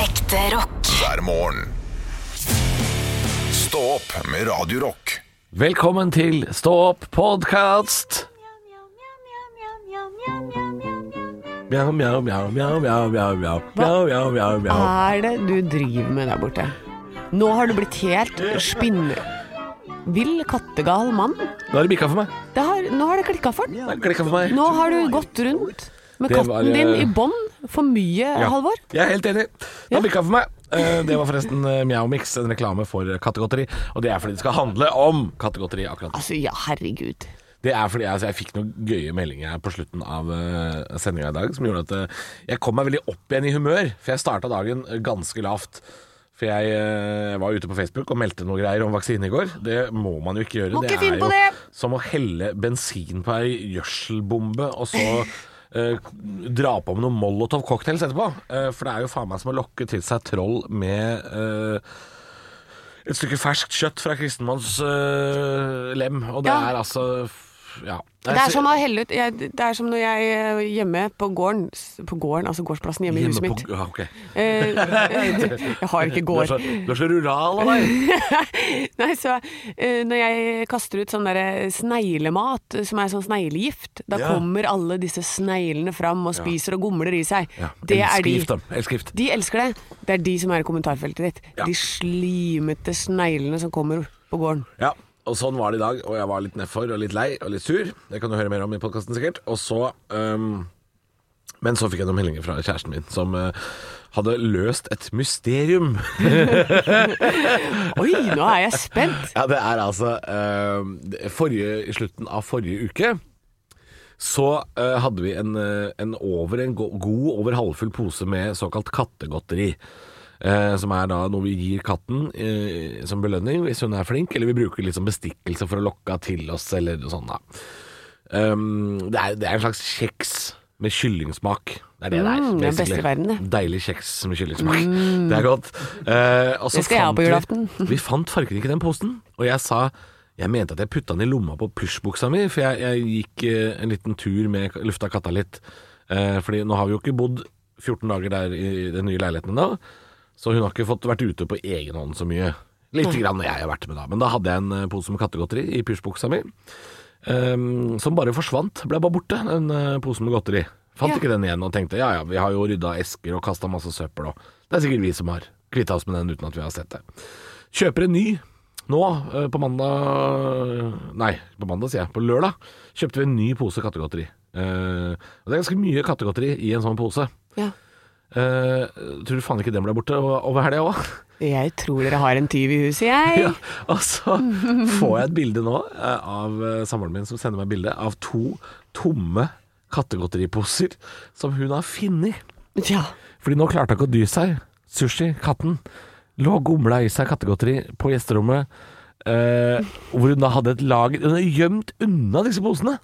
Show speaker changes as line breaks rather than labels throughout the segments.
Ekte rock.
hver morgen. Stå opp med Radio Rock.
Velkommen til Stå opp podkast! Mjau, mjau, mjau, mjau, mjau, mjau, mjau, mjau, mjau, mjau, mjau.
er det du driver med der borte? Nå har du blitt helt spinnvill kattegal mann.
Nå har det bikka for meg.
Det har, nå har det klikka for den.
Det har klikket for meg.
Nå har du gått rundt med
Det
katten
var,
din
eh,
i bånd for mye,
Ja.
Halvor.
Jeg er helt enig. Det har bikka for meg. Eh, Det var forresten eh, Mjau Mix, en reklame for kattegodteri. Og det er fordi det skal handle om kattegodteri. akkurat nå.
Altså, ja, herregud.
Det er fordi altså, Jeg fikk noen gøye meldinger her på slutten av uh, sendinga i dag som gjorde at eh, jeg kom meg veldig opp igjen i humør. For jeg starta dagen eh, ganske lavt. For jeg eh, var ute på Facebook og meldte noe greier om vaksine i går. Det må man jo ikke gjøre.
Må ikke finne
er
på
jo
det.
som å helle bensin på ei gjødselbombe og så eh, dra på med noen Molotov-cocktails etterpå. Eh, for det er jo faen meg som å lokke til seg troll med eh, et stykke ferskt kjøtt fra kristenmanns eh, lem. Og det
Ja.
er altså f- Ja.
Det er som å helle ut jeg, Det er som når jeg eh, hjemme på gården s- På gården, altså gårdsplassen hjemme, i huset mitt.
ja, ah, ok.
Eh, jeg har ikke
Du er
gård.
så, du er så rural av deg.
Nei, så eh, når jeg kaster ut sånn derre sneglemat, eh, som er sånn sneglegift, da
Ja.
kommer alle disse sneglene fram og spiser og gomler i seg.
Ja,
Det er de.
Elskrift, da. Elskrift.
De elsker det. Det er de som er i kommentarfeltet ditt.
Ja.
De slimete sneglene som kommer på gården.
Ja, og sånn var det i dag, og jeg var litt nedfor og litt lei og litt sur. Det kan du høre mer om i podkasten sikkert. Og så øhm, Men så fikk jeg noen meldinger fra kjæresten min som øh, hadde løst et mysterium.
Oi, nå er jeg spent!
Ja, det er altså øhm, det- forrige, I slutten av forrige uke så øh, hadde vi en, øh, en, over, en go god over halvfull pose med såkalt kattegodteri. Eh, som er da noe vi gir katten eh, som belønning hvis hun er flink, eller vi bruker litt som bestikkelse for å lokke henne til oss, eller noe sånt. da. Um, det, er, det er en slags kjeks med kyllingsmak. Det er det det er.
Mm, den
basically.
beste i verden, det.
Deilig kjeks med kyllingsmak. Det er godt. Eh, og så
Det skal jeg ha
fant
på
vi-
julaften.
Vi fant farken ikke i den posen, og jeg sa jeg mente at jeg putta den i lomma på pysjbuksa mi, for jeg, jeg gikk eh, en liten tur med lufta katta litt. Eh, fordi nå har vi jo ikke bodd 14 dager der i den nye leiligheten ennå, så hun har ikke fått vært ute på egen hånd så mye. Lite grann når jeg har vært med, da. Men da hadde jeg en eh, pose med kattegodteri i pysjbuksa mi. Ehm, som bare forsvant, ble bare borte, den eh, posen med godteri. Fant
Ja.
ikke den igjen og tenkte ja ja, vi har jo rydda esker og kasta masse søppel og Det er sikkert vi som har kvitta oss med den uten at vi har sett det. Kjøper en ny nå eh, på mandag Nei, på mandag sier jeg. På lørdag kjøpte vi en ny pose kattegodteri. Eh, og det er ganske mye kattegodteri i en sånn pose.
Ja.
Eh, tror du faen ikke den ble borte o- over helga òg?
Jeg tror dere har en tyv i huset, jeg.
Ja, og så får jeg et bilde nå eh, av eh, samboeren min som sender meg bilde av to tomme kattegodteriposer som hun har funnet.
Ja.
Fordi nå klarte hun ikke å dy seg. Sushi, katten, lå og gomla i seg kattegodteri på gjesterommet. eh, hvor hun da hadde et lager Hun hadde gjemt unna disse posene.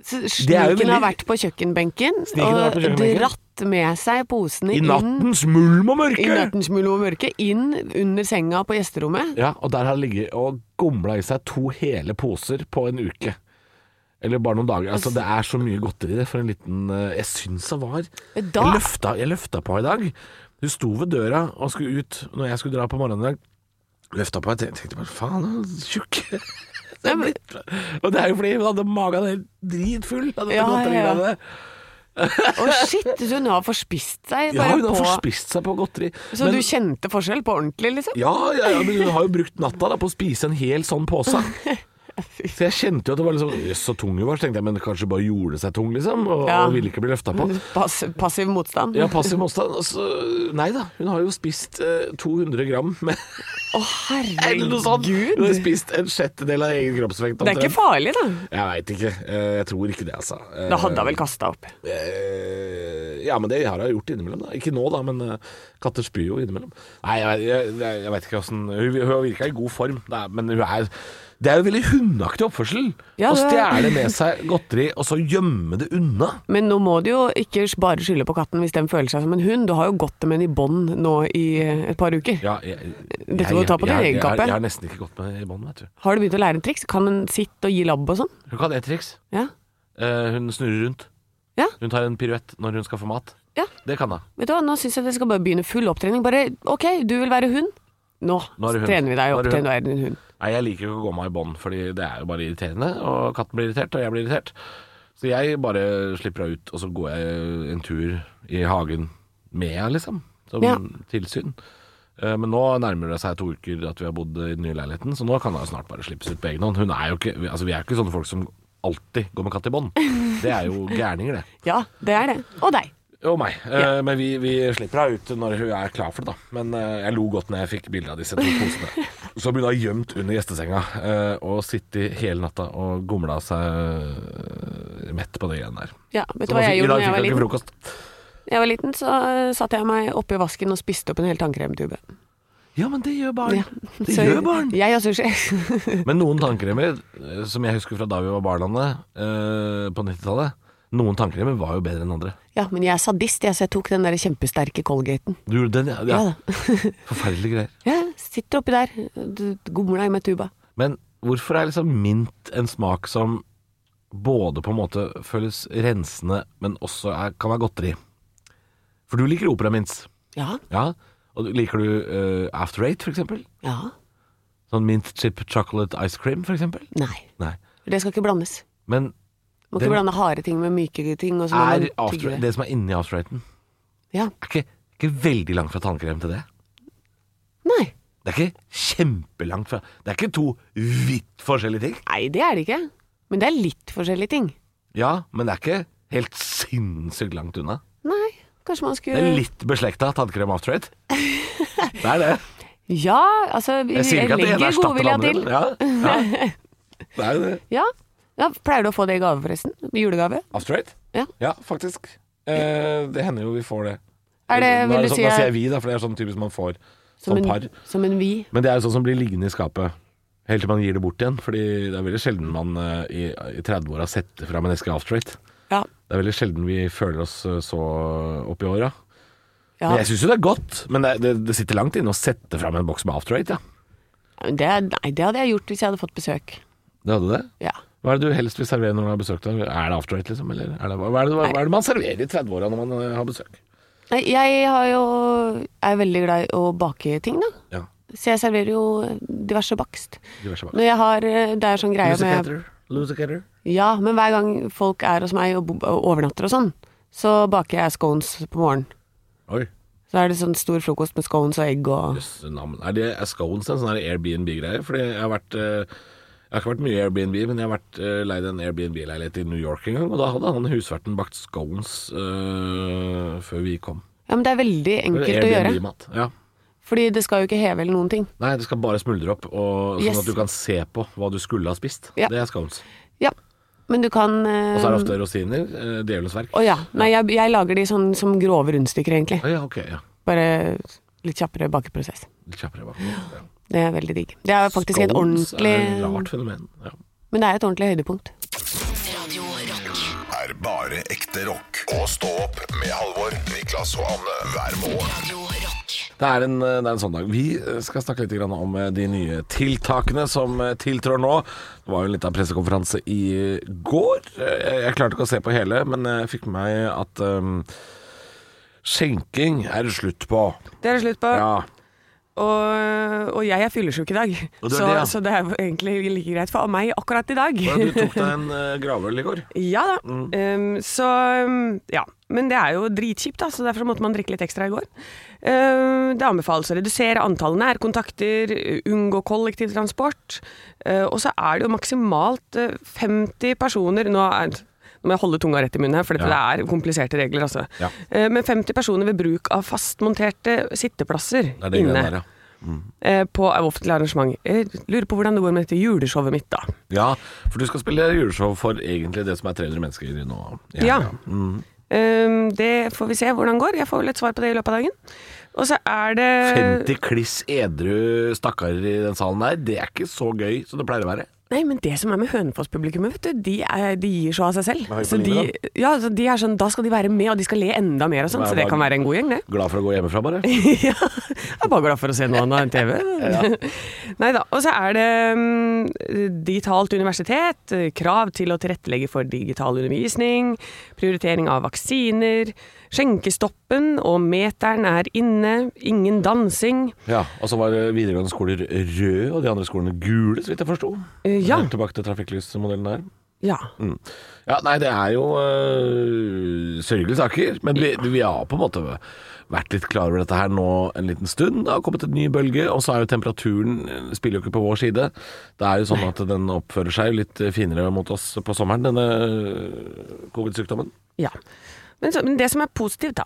Så
Det er jo
Sniken har
veldig-
vært på kjøkkenbenken
Sniken har vært
og
på kjøkkenbenken.
dratt med seg posene
I
inn
nattens mulm og
i
mørke!
nattens mulm og mørke, inn under senga på gjesterommet.
Ja, og der har det ligget og gomla i seg to hele poser på en uke. Eller bare noen dager. Altså, det er så mye godteri det for en liten eh, Jeg syns det var
Da-
jeg, løfta, jeg løfta på i dag. Hun sto ved døra og skulle ut når jeg skulle dra på morgenen i dag. Løfta på, jeg tenkte bare faen, hun er tjukk.
Nei, men-
Og det er jo fordi hun hadde magen helt dritfull av dette
Ja, ja, ja.
godteriet.
Å shit, så hun har forspist seg
Ja, hun
bare
har
på
forspist seg på godteri.
Så
Men-
du kjente forskjell på ordentlig, liksom?
Ja, ja, ja, men hun har jo brukt natta da på å spise en hel sånn pose. Så jeg kjente jo at det var liksom Jøss, så tung hun var. Så tenkte jeg, men kanskje hun bare gjorde seg tung, liksom. Og,
Ja.
og ville ikke bli løfta på.
Pass, passiv motstand?
Ja, passiv motstand. Og så- nei da, hun har jo spist eh, 200 gram med
Å
eller noe sånt. Hun har
herregud!
spist en sjettedel av egen kroppsvekt.
Det er ikke
omtrent.
farlig, da.
Jeg veit ikke. Eh, Jeg tror ikke det, altså. Eh,
Da hadde hun vel kasta opp.
Eh, Ja, men det har jeg gjort innimellom. da Ikke nå, da, men eh, katter spyr jo innimellom. Nei, jeg, jeg, jeg, jeg vet ikke åssen Hun, hun virka i god form, det er, men hun er Det er jo veldig hundeaktig oppførsel.
Ja,
å
det er-
stjele med seg godteri, og så gjemme det unna.
Men nå må du jo ikke bare skylde på katten hvis den føler seg som en hund. Du har jo gått med den i bånd nå i eh, et par uker.
Ja, jeg,
Dette må du ta på din
jeg- jeg-
egen
Jeg,
kappe.
jeg har nesten ikke gått med i bånd, vet du.
Har du begynt å lære en triks? Kan den sitte og gi labb og sånn?
Hun kan ett triks.
Ja.
Eh, hun snurrer rundt.
Ja.
Hun tar en piruett når hun skal få mat.
Ja.
Det kan hun.
Vet du hva, nå syns jeg det skal bare begynne full opptrening. Bare OK, du vil være hund. Nå,
Nå er du hund.
trener vi
Nå
deg
er
opp
du
til
hund.
å være en hund.
Nei, jeg liker jo ikke å gå meg i bånd, fordi det er jo bare irriterende. Og katten blir irritert, og jeg blir irritert. Så jeg bare slipper henne ut, og så går jeg en tur i hagen med henne, liksom. Som
Ja.
tilsyn. Eh, Men nå nærmer det seg to uker at vi har bodd i den nye leiligheten, så nå kan hun snart bare slippes ut på egen hånd. Hun er jo ikke, altså Vi er jo ikke sånne folk som alltid går med katt i bånd. Det er jo gærninger, det.
Ja, det er det. Og deg.
Og meg. Eh, Men vi, vi slipper henne ut når hun er klar for det, da. Men eh, jeg lo godt når jeg fikk bilde av disse to posene. Som hun har gjemt under gjestesenga, eh, og sittet hele natta og gomla seg eh, mett på de greiene der.
Ja, vet
Så
du hva jeg
i
gjorde
dag
da
fikk hun
jeg var
ikke
liten?
frokost.
Jeg var liten, så eh, satte jeg meg oppi vasken og spiste opp en hel tannkremtube.
Ja, men det gjør barn.
Ja.
Det
Så
gjør barn.
Jeg og sushi.
Men noen tannkremer, eh, som jeg husker fra da vi var barnlandet eh, på 90-tallet, noen tannkremer var jo bedre enn andre.
Ja, men jeg er sadist, jeg, så jeg tok den der kjempesterke Colgaten.
Du gjorde den, ja.
Ja
ja.
da.
Forferdelige greier.
Jeg sitter oppi der, d- gomler deg med tuba.
Men hvorfor er liksom mint en smak som både på en måte føles rensende, men også er, kan være godteri? For du liker operamints,
Ja,
ja? Og du- liker du eh, After Eight, for eksempel?
ja,
Sånn mint chip chocolate ice cream, for eksempel?
nei.
Nei.
Det skal ikke blandes.
Men
Må
Den-
ikke blande harde ting med myke ting. Og så må man
er
tygge
after,
det.
det som er inni After Eighten,
Ja,
er ikke, ikke veldig langt fra tannkrem til det?
nei.
Det er ikke kjempelangt fra Det er ikke to vidt forskjellige ting.
Nei, det er det ikke. Men det er litt forskjellige ting.
Ja, men det er ikke helt sinnssykt langt unna.
Nei, kanskje man
Det er
skulle
litt beslekta tannkrem after eight. Det er det.
Ja, altså vi-
Jeg sier ikke at det ene
legger
erstatter det
godvilja
andre.
til.
men Ja, ja. Det er jo det.
Ja. ja. Pleier du å få det i gave, forresten? Julegave?
After eight?
Ja.
faktisk. Eh, det hender jo vi får det.
Er det,
Nå
vil
er
du
sånn,
si
da sier jeg vi, da, for det er sånn typisk man får som,
en,
par.
Som en vi.
Men det er jo sånn som blir liggende i skapet helt til man gir det bort igjen. Fordi det er veldig sjelden man eh, i, i 30-åra setter fram en eske after eight.
Ja.
Det er veldig sjelden vi føler oss eh, så oppi åra.
ja.
Men Jeg syns jo det er godt, men det, det, det sitter langt inne å sette fram en boks med after eight, ja.
Det, nei, det hadde jeg gjort hvis jeg hadde fått besøk.
Det hadde det?
Ja.
Hva er det du helst vil servere når du har besøk? Da? Er det after eight, liksom? Eller er det, hva, hva, er det, hva, hva er det man serverer i 30-åra når man eh, har besøk?
Nei, jeg har jo, er veldig glad i å bake ting, da.
Ja,
Så jeg serverer jo diverse bakst.
diverse bak.
Når jeg har, eh, det er sånn greie med
Lucicatter. Lucicatter.
Ja, men hver gang folk er hos meg og bo- og overnatter og sånn, så baker jeg scones på morgenen.
Oi.
Så er det sånn stor frokost med scones og egg og
Jøss, navn. Er det er scones en sånn her Airbnb-greie? Fordi jeg har vært eh, Jeg har ikke vært mye i Airbnb, men jeg har vært eh, leid en Airbnb-leilighet i New York en gang, og da hadde han husverten bakt scones eh, før vi kom.
Ja, men det er veldig enkelt å gjøre.
Airbnb-mat. Ja.
Fordi det skal jo ikke heve eller noen ting.
Nei, det skal bare smuldre opp, og, sånn
Yes.
at du kan se på hva du skulle ha spist.
Ja.
Det er scones.
Ja, men du kan eh,
Og så er det ofte rosiner. eh, Djevelens verk.
Å ja. Nei, jeg, jeg lager de sånn som grove rundstykker, egentlig.
Å ja, ok. Ja.
Bare litt kjappere bakeprosess.
Litt kjappere bak. Ja.
Det er veldig digg. Det er faktisk et
Scones
ordentlig
er et rart fenomen. Ja.
Men det er et ordentlig høydepunkt.
Er bare ekte rock. Og stå opp med Halvor, Niklas og Anne hver morgen.
Det er, en, det er en sånn dag. Vi skal snakke litt grann om eh, de nye tiltakene som eh, tiltrår nå. Det var jo en liten pressekonferanse i eh, går. Eh, Jeg klarte ikke å se på hele, men eh, jeg fikk med meg at um, skjenking er det slutt på.
Det er det slutt på.
Ja.
Og, og jeg er fyllesyk i dag,
Og du er
så,
det, ja.
så det er egentlig like greit for meg akkurat i dag.
Du tok deg en eh, gravøl i går.
Ja da.
Mm.
Um, så um, ja. Men det er jo dritkjipt, da, så derfor måtte man drikke litt ekstra i går. Um, det anbefales å redusere antall nærkontakter, unngå kollektivtransport. Uh, og så er det jo maksimalt uh, 50 personer Nå, er, nå må jeg holde tunga rett i munnen her, for dette
Ja.
det er kompliserte regler, altså.
Ja.
Uh, men 50 personer ved bruk av fastmonterte sitteplasser
Det er det
inne
greiene der, ja.
uh, på offentlig arrangement. Jeg lurer på hvordan det går med dette juleshowet mitt, da.
Ja, for du skal spille juleshow for egentlig det som er 300 mennesker nå. i
Ja.
helga.
Ehm,
Um, det får vi se hvordan går. Jeg får vel et svar på det i løpet av dagen. Og så er det
50 kliss edru stakkarer i den salen der, det er ikke så gøy som det pleier å være.
Nei, men det som er med Hønefoss-publikummet, vet du, de, er, de gir så av seg selv.
høy på
Så de,
linje,
ja, så de er sånn, da skal de være med, og de skal le enda mer og sånn,
Hver
så det
dag.
kan være en god gjeng, det.
Glad for å gå hjemmefra, bare.
ja, jeg er bare glad for å se noe annet enn TV. Nei da. Og så er det mm, digitalt universitet, eh, krav til å tilrettelegge for digital undervisning, prioritering av vaksiner, skjenkestoppen og meteren er inne, ingen dansing.
Ja, Og så var videregående skoler røde, og de andre skolene gule, så vidt jeg forsto.
Eh, ja.
Helt Tilbake til trafikklysmodellen der.
Ja.
Ja, nei, det er jo øh, sørgelige saker, men vi, vi har på en måte vært litt klar over dette her nå en liten stund. Det har kommet en ny bølge, og så er jo temperaturen øh, spiller jo ikke på vår side. Det er jo sånn at den oppfører seg litt finere mot oss på sommeren, denne øh, covid-sykdommen.
ja. Men, så, men det som er positivt, da,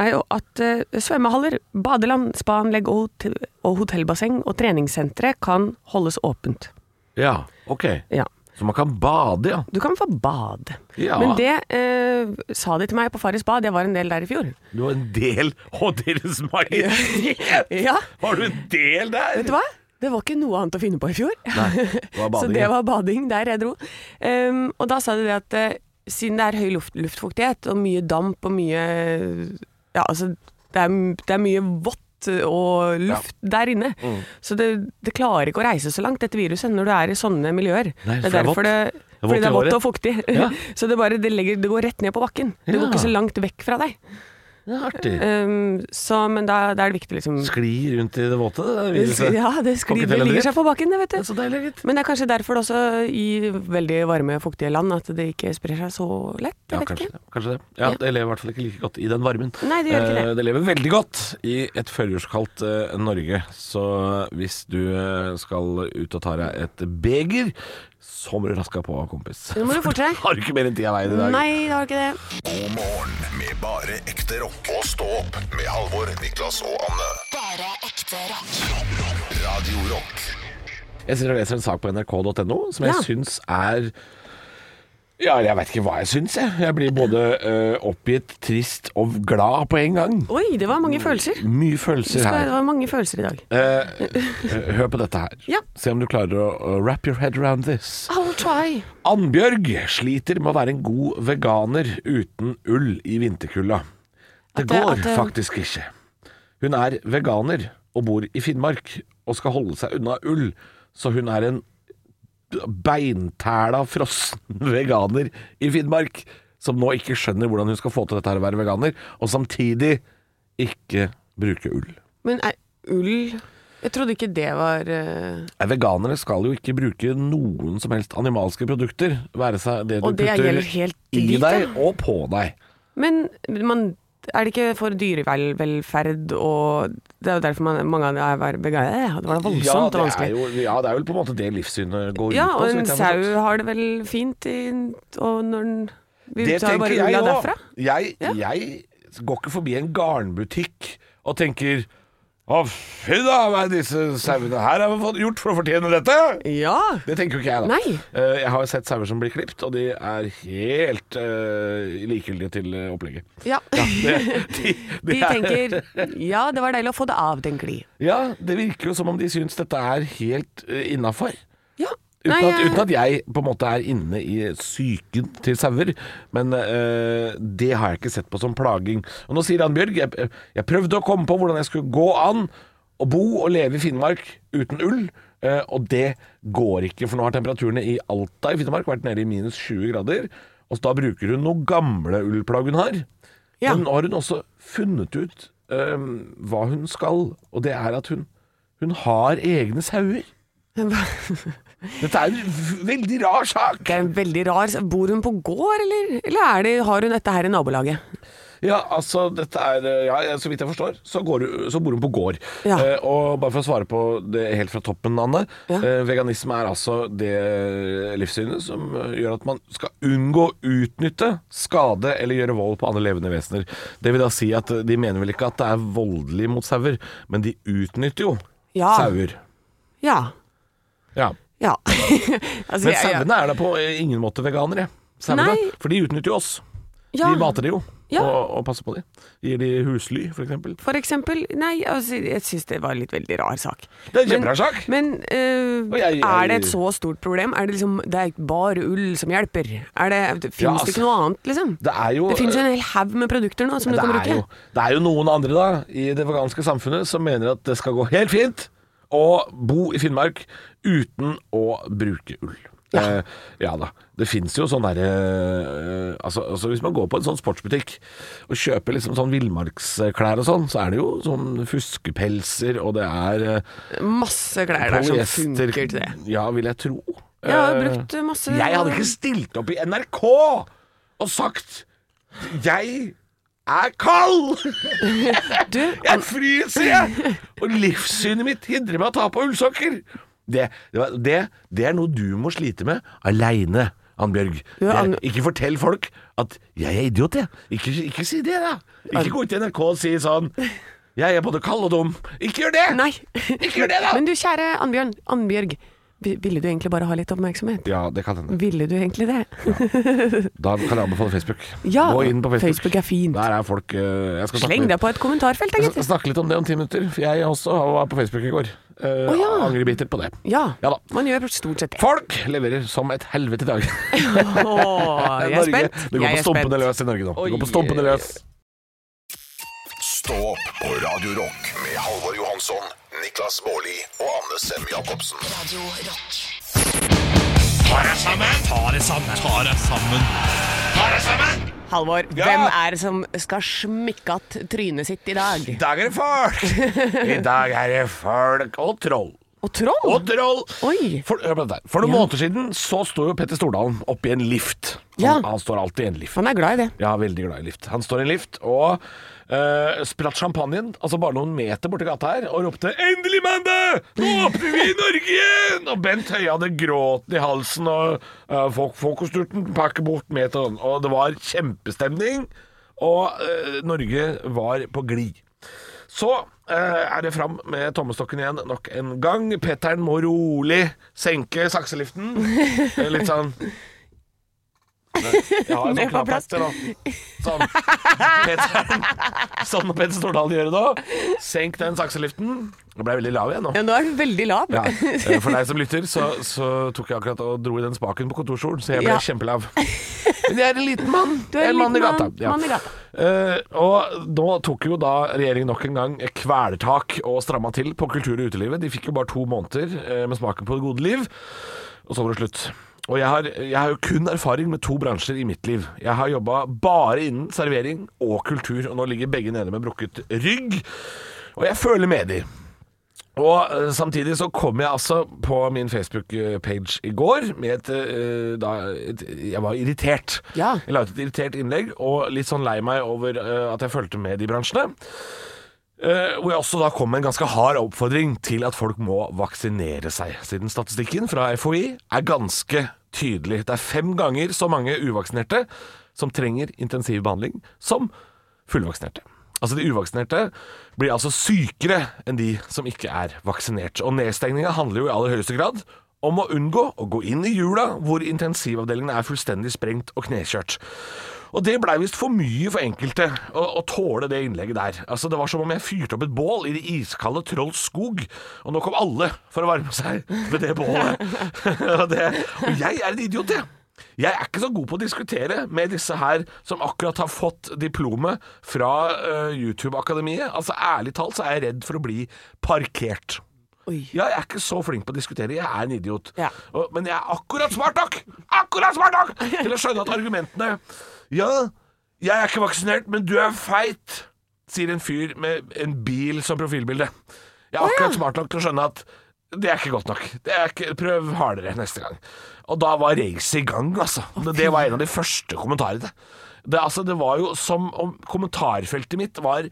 er jo at eh, svømmehaller, badeland, spaanlegg og, hotell- og hotellbasseng og treningssentre kan holdes åpent.
Ja, ok.
Ja.
Så man kan bade, ja.
Du kan få bad.
Ja.
Men det eh, sa de til meg på Farris bad, jeg var en del der i fjor.
Du var en del Å, Deres Majestet!
Ja.
Var du en del der?
Vet du hva? Det var ikke noe annet å finne på i fjor.
var
Så
bading,
det
ja.
var bading der jeg dro. Ehm, og da sa de det at eh, siden det er høy luft, luftfuktighet og mye damp og mye Ja, altså det er, det er mye vått og luft der inne.
Mm.
Så det, det klarer ikke å reise så langt, dette viruset, når du er i sånne miljøer.
Nei,
det
for det er
er derfor
vått.
det,
er vått
fordi
i
det er
håret.
vått og fuktig.
Ja.
så det, bare, det, legger, det går rett ned på bakken. Det
Ja.
går ikke så langt vekk fra deg.
Ja, artig.
Ehm, så, men da, da er det viktig, liksom
Skli rundt i det våte, det der viruset.
Ja, det
Får ikke
skriver,
til en
ligger
dritt.
seg på bakken, det, vet
Det
du.
er så deilig, gitt.
Men det er kanskje derfor det også i veldig varme, fuktige land at det ikke sprer seg så lett. Jeg
Ja,
vet
kanskje
ikke.
det. Kanskje det. Ja,
Ja.
Det lever i hvert fall ikke like godt i den varmen.
Nei, det gjør ikke
Eh,
det.
lever veldig godt i et førjulskaldt eh, Norge. Så hvis du eh, skal ut og ta deg et beger, så må du raske på, kompis.
Nå må du forte deg.
Har du ikke mer enn ti av veien i dag?
Nei, det var ikke det.
God morgen med bare ekte rock. Og stå opp med Halvor, Niklas og Anne.
Bare ekte rock.
Radio Rock.
Jeg sitter og leser en sak på nrk.no som jeg
Ja.
syns er ja, jeg veit ikke hva jeg syns, jeg. Jeg blir både eh, oppgitt, trist og glad på en gang.
Oi, det var mange følelser.
Mye
Det
følelser
skal-
her.
Det var mange følelser i dag.
Eh, hør på dette her.
Ja.
Se om du klarer å, å wrap your head around this.
I'll try.
Annbjørg sliter med å være en god veganer uten ull i vinterkulda. Det
At det-
går
at det-
faktisk ikke. Hun er veganer og bor i Finnmark og skal holde seg unna ull, så hun er en beintæla frossen veganer i Finnmark som nå ikke skjønner hvordan hun skal få til dette her å være veganer, og samtidig ikke bruke ull.
Men er ull Jeg trodde ikke det var eh,
Nei, Veganere skal jo ikke bruke noen som helst animalske produkter. Være seg det du
Og det
putter
gjelder helt
i
dit,
deg
ja.
og på deg.
Men man er det ikke for dyrevelferd og Det er jo derfor man, mange av dem er veganere. Det var voldsomt og
det
vanskelig.
er jo, ja, det er vel på en måte det livssynet går
Ja,
ut på.
og
så
en
vidt jeg har
sau
forstått.
har det vel fint i, og når den Vi
Det
tar
tenker
jo bare
jeg
ulla
òg.
derfra.
Jeg, jeg går ikke forbi en garnbutikk og tenker å fy da, hva er disse sauene her har fått gjort for å fortjene dette?
Ja.
Det tenker jo ikke jeg, da.
Nei.
Eh, Jeg har jo sett sauer som blir klipt, og de er helt eh, likegyldige til eh, opplegget.
ja.
Det, de, de
De
er-
tenker Ja, det var deilig å få det av, tenker de.
Ja, det virker jo som om de syns dette er helt uh, innafor.
Ja.
Uten,
Nei,
at-
jeg-
uten at jeg på en måte er inne i psyken til sauer, men eh, det har jeg ikke sett på som plaging. Og nå sier Annbjørg jeg, jeg prøvde å komme på hvordan jeg skulle gå an å bo og leve i Finnmark uten ull, eh, og det går ikke. For nå har temperaturene i Alta i Finnmark vært nede i minus 20 grader, og så da bruker hun noe gamle ullplagg hun har.
Ja.
Men nå har hun også funnet ut øhm, hva hun skal, og det er at hun, hun har egne sauer. Dette er en v- veldig rar sak.
Det er en veldig rar Bor hun på gård, eller, eller er det, har hun dette her i nabolaget?
Ja, altså, dette er øh, ja, Så vidt jeg forstår, så, går, hun- så bor hun på gård.
Ja.
Eh, og bare for å svare på det helt fra toppen, Anne.
Ja.
eh, veganisme er altså det livssynet som eh, gjør at man skal unngå å utnytte, skade eller gjøre vold på andre levende vesener. Det vil da si at eh, de mener vel ikke at det er voldelig mot sauer, men de utnytter jo
Ja.
sauer.
Ja.
Ja.
Ja. altså,
Men
jeg- jeg-
sauene er da på eh, ingen måte veganere. Sauene,
Nei.
for de utnytter jo oss.
ja.
De mater det jo.
Ja.
og, og passer på dem. Gir de husly, for eksempel.
For eksempel Nei, altså, jeg syns det var en litt veldig rar sak.
Det er en kjemperar sak.
Men eh,
Og jeg- jeg-
er det et så stort problem? Er det liksom Det er bare ull som hjelper? Er det Fins
Ja,
det
altså,
ikke noe annet, liksom?
Det er jo øh,
Det finnes jo en hel haug med produkter nå som du
det
kan
er,
bruke.
jo, det er jo noen andre da i det veganske samfunnet som mener at det skal gå helt fint å bo i Finnmark uten å bruke ull. Ja, eh, ja da. Det fins jo sånn derre eh, altså, altså hvis man går på en sånn sportsbutikk og kjøper liksom sånn villmarksklær og sånn, så er det jo sånn fuskepelser, og det er eh,
Masse klær der som funker til det.
Ja, vil jeg tro.
Jeg har
Eh,
brukt masse
jeg hadde ikke stilt opp i NRK og sagt 'jeg er kald'!
Du,
Jeg fryser, jeg! Og livssynet mitt hindrer meg å ta på ullsokker. Det, det, var- det, det er noe du må slite med aleine, Annbjørg.
Ja,
Det er-
Ann-
Ikke fortell folk at 'jeg er idiot', jeg. Ikke, ikke si det, da. Ikke gå ut i NRK og si sånn 'jeg er både kald og dum'. Ikke gjør det!
Nei.
Ikke gjør det, da!
Men du kjære Annbjørn, Annbjørg, vi- ville du egentlig bare ha litt oppmerksomhet?
Ja, det kan hende.
Ville du egentlig det?
Da kan jeg anbefale Facebook.
Ja,
Gå inn på Facebook.
Facebook er fint.
Der er folk eh, jeg skal snakke
Sleng
litt-
deg på et kommentarfelt, da,
Jeg skal
gitt.
snakke litt om det om ti minutter, for jeg også var på Facebook i går. Uh,
Å, ja.
Angrer bittert på det.
Ja,
Ja da.
man gjør stort sett det.
Folk leverer som et helvete i dag.
Åh, jeg er
Norge,
spent.
Det går
Jeg
på
er
stumpene
spent.
løs i Norge nå.
Oi.
Det går på stumpene løs.
Stå opp på Radio Rock med Halvor Johansson, Niklas Baarli og Anne Sem Jacobsen.
Halvor,
hvem
er det som skal smikke att trynet sitt i dag?
I dag er det folk! I dag er det folk og troll.
Og troll?
Og troll!
Oi.
For, hør på dette. her. For noen måneder siden så sto jo Petter Stordalen oppi en lift. Han,
Ja.
han står alltid i en lift.
Han er glad i det.
Ja, veldig glad i lift. Han står i en lift og uh, spratt champagnen, altså bare noen meter borti gata her, og ropte 'Endelig mandag! Nå åpner vi i Norge igjen!' Og Bent Høie hadde gråten i halsen, og eh, fok fokussturten pakker bort meteren. Og det var kjempestemning, og eh, Norge var på glid. Så eh, er det fram med tommestokken igjen nok en gang. Petteren må rolig senke sakseliften. Eh, Litt sånn Jeg har en sånn
Ned på plass.
knapphatter nå. Sånn. Petteren, sånn må Petter Stordalen gjør det nå. Senk den sakseliften. Nå ble jeg veldig lav igjen nå.
Ja, nå er du veldig lav.
Ja. eh, For deg som lytter, så, så tok jeg akkurat og dro i den spaken på kontorstolen, så jeg ble
Ja.
kjempelav. Men jeg er en liten mann.
Du er en
Jeg mann i
liten
gata.
mann. Mann i gata.
Eh, og nå tok jo da regjeringen nok en gang kvelertak og stramma til på kultur- og utelivet. De fikk jo bare to måneder eh, med smaken på det gode liv, og så var det slutt. Og jeg har, jeg har jo kun erfaring med to bransjer i mitt liv. Jeg har jobba bare innen servering og kultur, og nå ligger begge nede med brukket rygg. Og jeg føler med de. Og eh, samtidig så kom jeg altså på min Facebook-page i går med et, eh, da, et Jeg var irritert.
Ja.
Jeg la ut et irritert innlegg og litt sånn lei meg over eh, at jeg fulgte med de bransjene. Eh, hvor jeg også da kom med en ganske hard oppfordring til at folk må vaksinere seg. Siden statistikken fra FHI er ganske tydelig. Det er fem ganger så mange uvaksinerte som trenger intensivbehandling, som fullvaksinerte. Altså De uvaksinerte blir altså sykere enn de som ikke er vaksinert. Og nedstengninga handler jo i aller høyeste grad om å unngå å gå inn i jula hvor intensivavdelingene er fullstendig sprengt og knekjørt. Og det blei visst for mye for enkelte å, å tåle det innlegget der. Altså Det var som om jeg fyrte opp et bål i det iskalde Trolls skog, og nå kom alle for å varme seg ved det bålet. og, det, og jeg er en idiot, jeg. Jeg er ikke så god på å diskutere med disse her som akkurat har fått diplomet fra eh, YouTube-akademiet. Altså Ærlig talt så er jeg redd for å bli parkert.
Oi.
Ja, jeg er ikke så flink på å diskutere, jeg er en idiot.
Ja.
Og, men jeg er akkurat smart nok Akkurat smart nok til å skjønne at argumentene Ja, jeg er ikke vaksinert, men du er feit, sier en fyr med en bil som profilbilde. Jeg er akkurat smart nok til å skjønne at det er ikke godt nok. Det er ikke, prøv hardere neste gang. Og da var racet i gang, altså. det var en av de første kommentarene. Det, altså, det var jo som om kommentarfeltet mitt var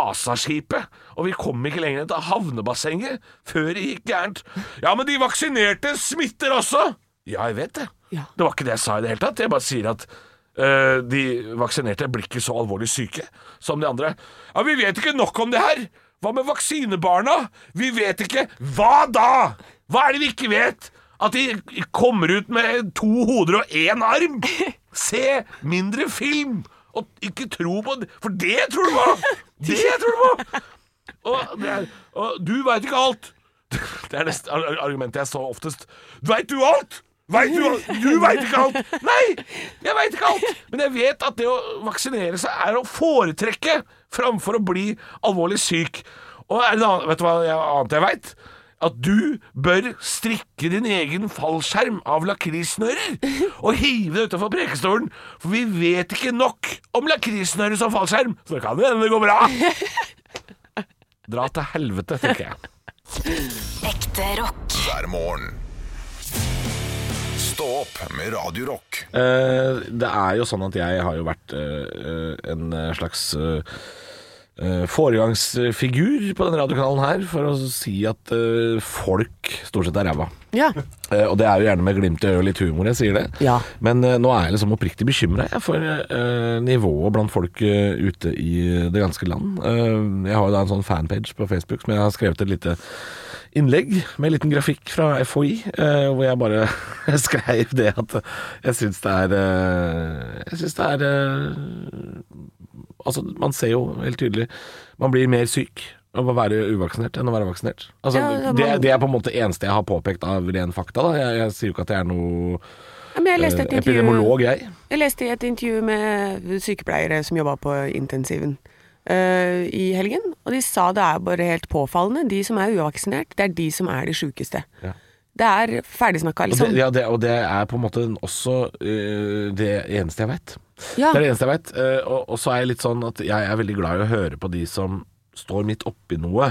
Vasaskipet, og vi kom ikke lenger enn til havnebassenget før det gikk gærent. Ja, men de vaksinerte smitter også! Ja, jeg vet det.
Ja.
Det var ikke det jeg sa i det hele tatt. Jeg bare sier at øh, de vaksinerte blir ikke så alvorlig syke som de andre. Ja, vi vet ikke nok om det her! Hva med vaksinebarna? Vi vet ikke Hva da?! Hva er det vi ikke vet? At de kommer ut med to hoder og én arm? Se mindre film! Og ikke tro på det, For det tror du på! Det tror du på! Og, det er, og du veit ikke alt! Det er det st- ar- argumentet jeg så oftest. Veit du alt?! Vet du alt? Du veit ikke alt! Nei! Jeg veit ikke alt! Men jeg vet at det å vaksinere seg er å foretrekke framfor å bli alvorlig syk. Og er det noe annet, vet du hva jeg, annet jeg veit? At du bør strikke din egen fallskjerm av lakrissnører og hive det utafor prekestolen, for vi vet ikke nok om lakrissnører som fallskjerm, så det kan jo hende det går bra. Dra til helvete, tenker jeg.
Ekte rock.
hver morgen. Stå opp med Radio Rock.
Eh, det er jo sånn at jeg har jo vært eh, eh, en eh, slags eh, eh, foregangsfigur på denne radiokanalen her for å si at eh, folk stort sett er ræva.
Ja.
Eh, og det er jo gjerne med glimt i øyet og litt humor jeg sier det.
Ja.
Men eh, nå er jeg liksom oppriktig bekymra for eh, nivået blant folk eh, ute i det ganske land. Eh, jeg har jo da en sånn fanpage på Facebook som jeg har skrevet et lite innlegg med en liten grafikk fra FHI, eh, hvor jeg bare skrev det at jeg syns det er eh, Jeg syns det er eh, Altså, man ser jo helt tydelig Man blir mer syk av å være uvaksinert enn å være vaksinert. Altså,
Ja, ja,
det,
man-
det er på en måte eneste jeg har påpekt av ren fakta. Da. Jeg, jeg sier jo ikke at jeg er noe
Men jeg leste,
eh,
et intervju,
epidemiolog, jeg.
jeg leste i et intervju med sykepleiere som jobba på intensiven eh, i helgen, og de sa det er bare helt påfallende. De som er uvaksinert, det er de som er de sjukeste.
Ja.
Det er ferdigsnakka,
Og det,
liksom.
ja, det, og det er på en måte også eh, det eneste jeg veit.
Ja.
Det er det eneste jeg veit. og, og så er jeg litt sånn at jeg er veldig glad i å høre på de som står midt oppi noe.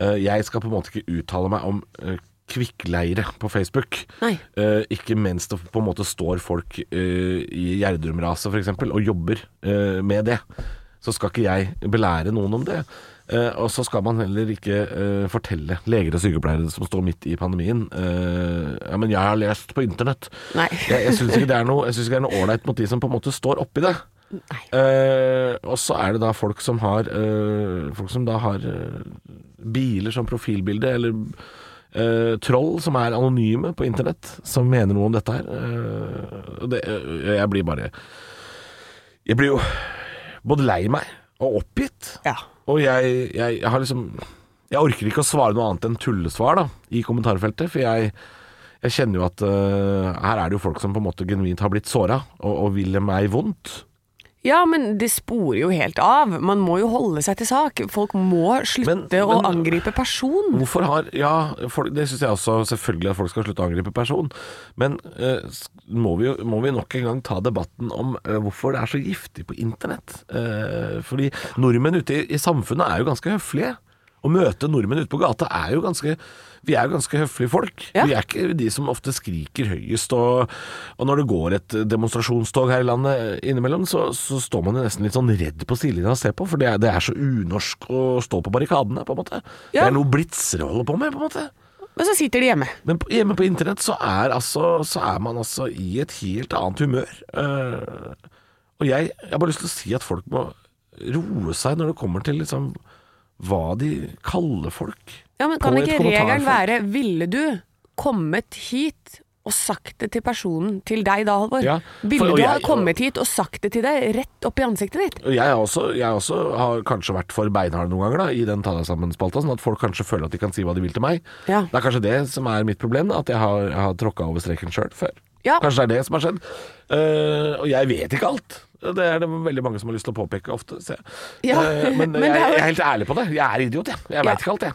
Eh, jeg skal på en måte ikke uttale meg om eh, kvikkleire på Facebook.
Nei.
Eh, ikke mens det på en måte står folk eh, i Gjerdrum-raset f.eks. og jobber eh, med det. Så skal ikke jeg belære noen om det. Eh, og så skal man heller ikke eh, fortelle leger og sykepleiere som står midt i pandemien eh, Ja, men jeg har lest på internett.
Nei.
Jeg, jeg syns ikke det er noe jeg synes ikke det er noe ålreit mot de som på en måte står oppi det.
Nei.
Eh, og så er det da folk som har eh, Folk som da har eh, biler som profilbilde, eller eh, troll som er anonyme på internett, som mener noe om dette her. Eh, og det, eh, jeg blir bare Jeg blir jo både lei meg og oppgitt.
Ja.
Og jeg, jeg, jeg har liksom Jeg orker ikke å svare noe annet enn tullesvar da i kommentarfeltet, for jeg jeg kjenner jo at eh, her er det jo folk som på en måte genuint har blitt såra, og, og vil meg vondt.
Ja, men det sporer jo helt av. Man må jo holde seg til sak. Folk må
Men-
slutte å
men-
angripe person.
Hvorfor har Ja, folk, det syns jeg også selvfølgelig at folk skal slutte å angripe person. Men eh, s- må, vi, jo- må vi nok en gang ta debatten om eh, hvorfor det er så giftig på internett? Eh, fordi nordmenn ute i, i samfunnet er jo ganske høflige. Å møte nordmenn ute på gata er jo ganske Vi er jo ganske høflige folk.
Ja.
Vi er ikke de som ofte skriker høyest. Og, og når det går et demonstrasjonstog her i landet eh, innimellom, så, så står man jo nesten litt sånn redd på sidelinja og ser på, for det er, det er så unorsk å stå på barrikadene, på en måte. Det
Ja.
er noe blitzer å holde på med, på en måte.
Men så sitter de hjemme.
Men på, hjemme på internett så er, altså, så er man altså i et helt annet humør. Eh, og jeg, jeg har bare lyst til å si at folk må roe seg når det kommer til liksom, hva de kaller folk.
Ja, men
på
Kan
et
ikke regelen
kommentarfelt.
være 'ville du kommet hit' og sagt det til personen, til deg da, Halvor?
Ja, for-
Ville
og
du ha
jeg-
kommet hit og sagt det til deg rett opp i ansiktet ditt?
Og jeg, er også, jeg er også har kanskje vært for beinhard noen ganger da, i den ta deg sammen-spalta, sånn at folk kanskje føler at de kan si hva de vil til meg.
Ja.
Det er kanskje det som er mitt problem, at jeg har, jeg har tråkka over streken sjøl før.
Ja.
Kanskje det er det som har skjedd. Eh, og jeg vet ikke alt. Det er det veldig mange som har lyst til å påpeke ofte. ser jeg.
Ja,
Eh, men
men det
jeg,
er jo-
jeg er helt ærlig på det. Jeg er idiot, jeg. Jeg
Ja.
veit ikke alt, jeg.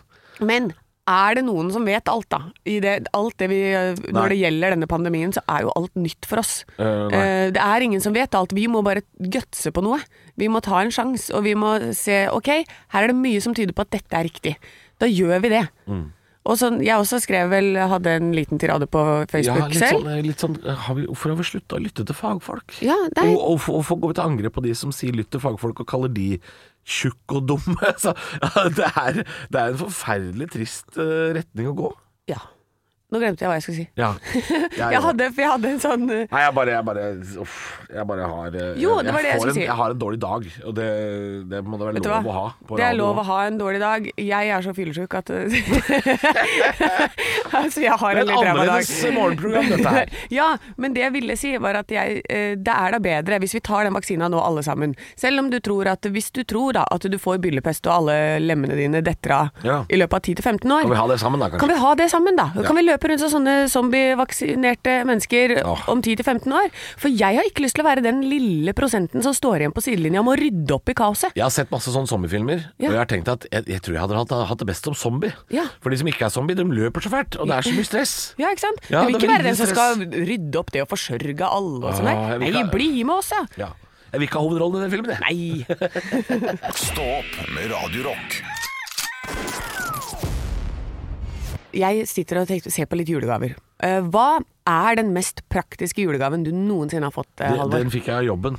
Men er det noen som vet alt, da? I det, alt det vi,
Nei.
når det gjelder denne pandemien, så er jo alt nytt for oss.
Eh, nei.
Eh, det er ingen som vet alt. Vi må bare gutse på noe. Vi må ta en sjanse, og vi må se OK, her er det mye som tyder på at dette er riktig. Da gjør vi det.
Mm.
Og så, jeg også skrev vel, hadde en liten tirade på
Ja,
Facebook
litt
selv.
sånn, eh, litt sånn eh, har vi, Hvorfor har vi slutta å lytte til fagfolk?
Ja, det er-
og, og, og hvorfor går vi til angrep på de som sier 'lytt til fagfolk' og kaller de tjukk og dumme? Så, ja, det, er, det er en forferdelig trist eh, retning å gå.
Ja. Nå glemte jeg hva jeg skulle si.
Ja.
Jeg hadde, for jeg hadde en sånn eh,
Nei, jeg bare, jeg bare Uff. Jeg bare har eh,
Jo, det var det jeg
får
skulle
en,
si.
Jeg har en dårlig dag, og det, det må det være
Vet du
lov å
hva?
ha. på
det er
radio.
lov å ha en dårlig dag. Jeg er så fyllesyk at eh, Altså, jeg har
Det er et
en litt ræva dag.
annerledes morgenprogram, dette her.
ja, men det jeg ville si, var at jeg, eh, det er da bedre hvis vi tar den vaksina nå, alle sammen. Selv om du tror at Hvis du tror da at du får byllepest og alle lemmene dine detter av
Ja.
i løpet av 10-15 år
Kan vi ha det sammen, da,
kan
kanskje?
vi ha det sammen, da? Kan vi løpe rundt som sånne zombievaksinerte mennesker
Åh.
om 10-15 år? For jeg har ikke lyst til å være den lille prosenten som står igjen på sidelinja om å rydde opp i kaoset.
Jeg har sett masse sånne zombiefilmer, og
Ja.
jeg har tenkt at jeg, jeg tror jeg hadde hatt, hatt det best som zombie.
Ja.
For de som ikke er zombie, de løper så fælt, og det er så mye stress.
Ja, ikke sant?
Ja,
jeg vil
det
ikke
er
være den som
veldig
skal rydde opp det å forsørge alle og sånn
Ah,
der.
jeg vil
Nei,
ikke ha-
bli med oss, ja.
Ja. Jeg vil ikke ha hovedrollen i den filmen, jeg.
Nei.
Stå opp med Radio Rock.
Jeg sitter og tenker, ser på litt julegaver. Eh, hva er den mest praktiske julegaven du noensinne har fått, eh,
Den,
Halvor?
den fikk jeg av jobben.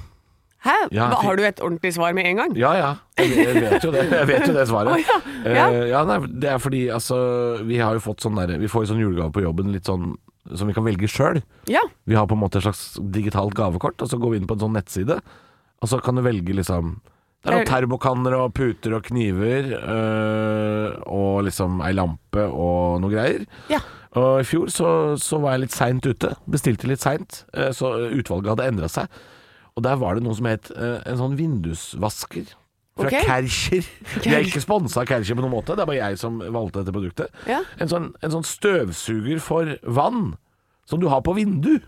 Hæ?
Ja,
Hva,
fy-
har du et ordentlig svar med en gang?
Ja ja, jeg, jeg vet jo det, jeg vet jo det svaret.
Å, ja. Ja.
Eh, ja, nei, det er fordi altså Vi har jo fått sånn derre Vi får jo sånn julegave på jobben litt sånn som vi kan velge sjøl.
Ja.
Vi har på en måte et slags digitalt gavekort, og så går vi inn på en sånn nettside, og så kan du velge liksom Det er noen termokanner og puter og kniver, øh, og liksom ei lampe og noe greier.
Ja.
Og i fjor så, så var jeg litt seint ute, bestilte litt seint, eh, så utvalget hadde endra seg. Og der var det noe som het eh, en sånn vindusvasker. Fra
Ok.
Kärcher. Vi er ikke sponsa av Kärcher på noen måte, det er bare jeg som valgte dette produktet.
Ja.
En, sånn, en sånn støvsuger for vann, som du har på vindu.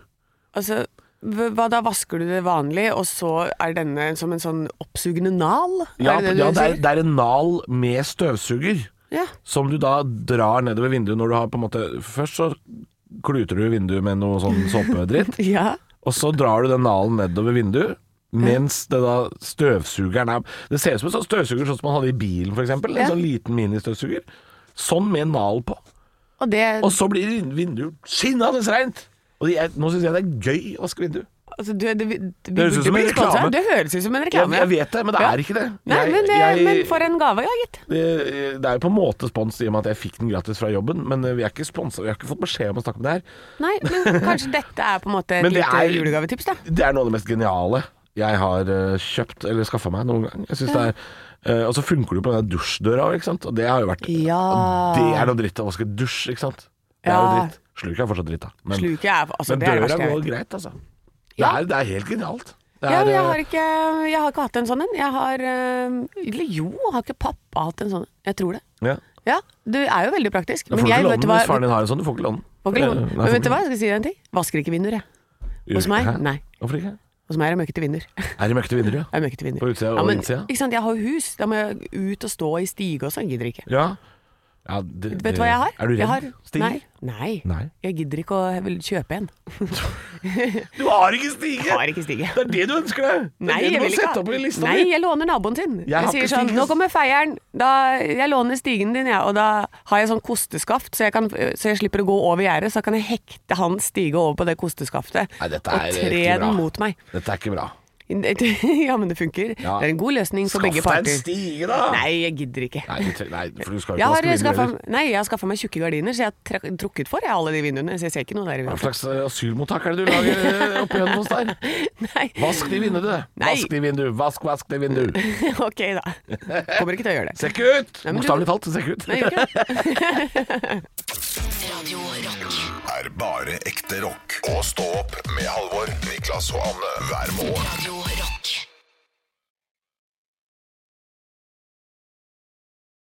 Altså, hva hva da vasker du det vanlig, og så er denne som en sånn oppsugende nal?
Ja,
det
det,
du
ja, det, er,
sier?
det er en nal med støvsuger
Ja.
som du da drar nedover vinduet når du har på en måte Først så kluter du i vinduet med noe sånn såpedritt,
ja.
og så drar du den nalen nedover vinduet. Mens det da støvsugeren er Det ser ut som en sånn støvsuger sånn som man hadde i bilen, f.eks. En
Ja.
sånn liten ministøvsuger. Sånn med en nal på.
Og det,
Og så blir vinduet skinnende reint! Og jeg, nå syns jeg det er gøy å vaske vinduet.
altså, du, det, vi, vi
høres ut
burde
som en
bli sponset.
reklame.
Det høres ut som en
Jeg,
reklame.
jeg vet det, men det
Ja.
er ikke det.
Nei,
Jeg-
men, det,
jeg-
men for en gave, ja gitt.
Det, eh, det er jo på en måte spons i og med at jeg fikk den gratis fra jobben, men eh, vi er ikke sponset, vi har ikke fått beskjed om å snakke om det her.
Nei, men kanskje dette er på en måte et
Men det
lite
er-
julegavetips, da.
Det er noe av det mest geniale jeg har eh, kjøpt eller skaffa meg noen gang. Jeg synes det er eh, Og så funker det jo på den der dusjdøra, ikke sant. Og det har jo vært
Ja.
Det er noe dritt å vaske dusj, ikke sant. Det er
Ja.
jo dritt. Sluket er fortsatt dritt, da. Men,
Sluket er altså,
men
det er det
døra
verste jeg
går
vet.
greit, altså. Det,
Ja.
er, det er helt genialt. Det
Ja,
er, eh,
jeg har, ikke, jeg har ikke hatt en sånn en. Jeg har eh, Eller jo, har ikke pappa hatt en sånn en? Jeg tror det.
ja.
Ja, du er jo veldig praktisk.
Du får
Men
ikke
jeg
låne
vet du
den
hva
hvis faren din har en sånn. Du får ikke låne den.
Får ikke låne.
Eh, nei,
Men
får
vet du
ikke-
hva, jeg skal si deg en ting. Vasker ikke vinduer, jeg. Hos meg?
Hæ?
Nei.
Hvorfor ikke?
Hos meg er det møkkete vinduer. Det
Er det møkkete vinduer, ja?
er møkkete vinduer.
På utsida og
ja, men,
innsida?
Ikke sant, jeg har jo hus. Da må jeg ut og stå i stige og sånn. Gidder ikke.
Ja. ja det,
Vet du hva jeg har?
Er du
Jeg
redd?
har...
Stiger?
Nei. Nei.
Nei.
Jeg gidder ikke å jeg vil kjøpe en.
Du har ikke stige!
Har ikke stige.
Det er det du ønsker deg! Det er
Nei,
det du
jeg
må
vil ikke
sette opp i lista
Nei,
di.
jeg låner naboen sin. Jeg,
har
sier
ikke
sånn
stigen.
'Nå kommer feieren'. Da, jeg låner stigen din, jeg. Og da har jeg sånn kosteskaft, så jeg, kan, så jeg slipper å gå over gjerdet. Så kan jeg hekte hans stige over på det kosteskaftet
Nei, dette er eh,
og
ikke
tre
bra.
den mot meg.
Dette er ikke bra.
ja, men det funker.
Ja.
Det er en god løsning for begge
Skaff deg en
parter.
stige, da!
Nei, jeg gidder ikke.
Nei, du tre- nei, for du skal jo
Jeg
ikke
har
vaske vinduer
skaffa
heller.
Nei, jeg har skaffa meg tjukke gardiner, så jeg har trak- trukket for jeg, alle de vinduene. Så jeg ser ikke noe der. i
Hva
vinduet.
slags eh, asylmottak er det du lager eh, oppi Hønefoss der?
Nei,
Vask de vinduene!
Nei.
Vask de vindu! Vask, vask de vindu!
ok da. Kommer ikke til å gjøre det.
Se ikke ut!
Nei, men du-
Bokstavelig talt, se ikke ut.
Nei, gjør ikke det.
Radio Rock.
Er bare ekte rock. Og stå opp med Halvor, Niklas og Anne hver morgen.
Radio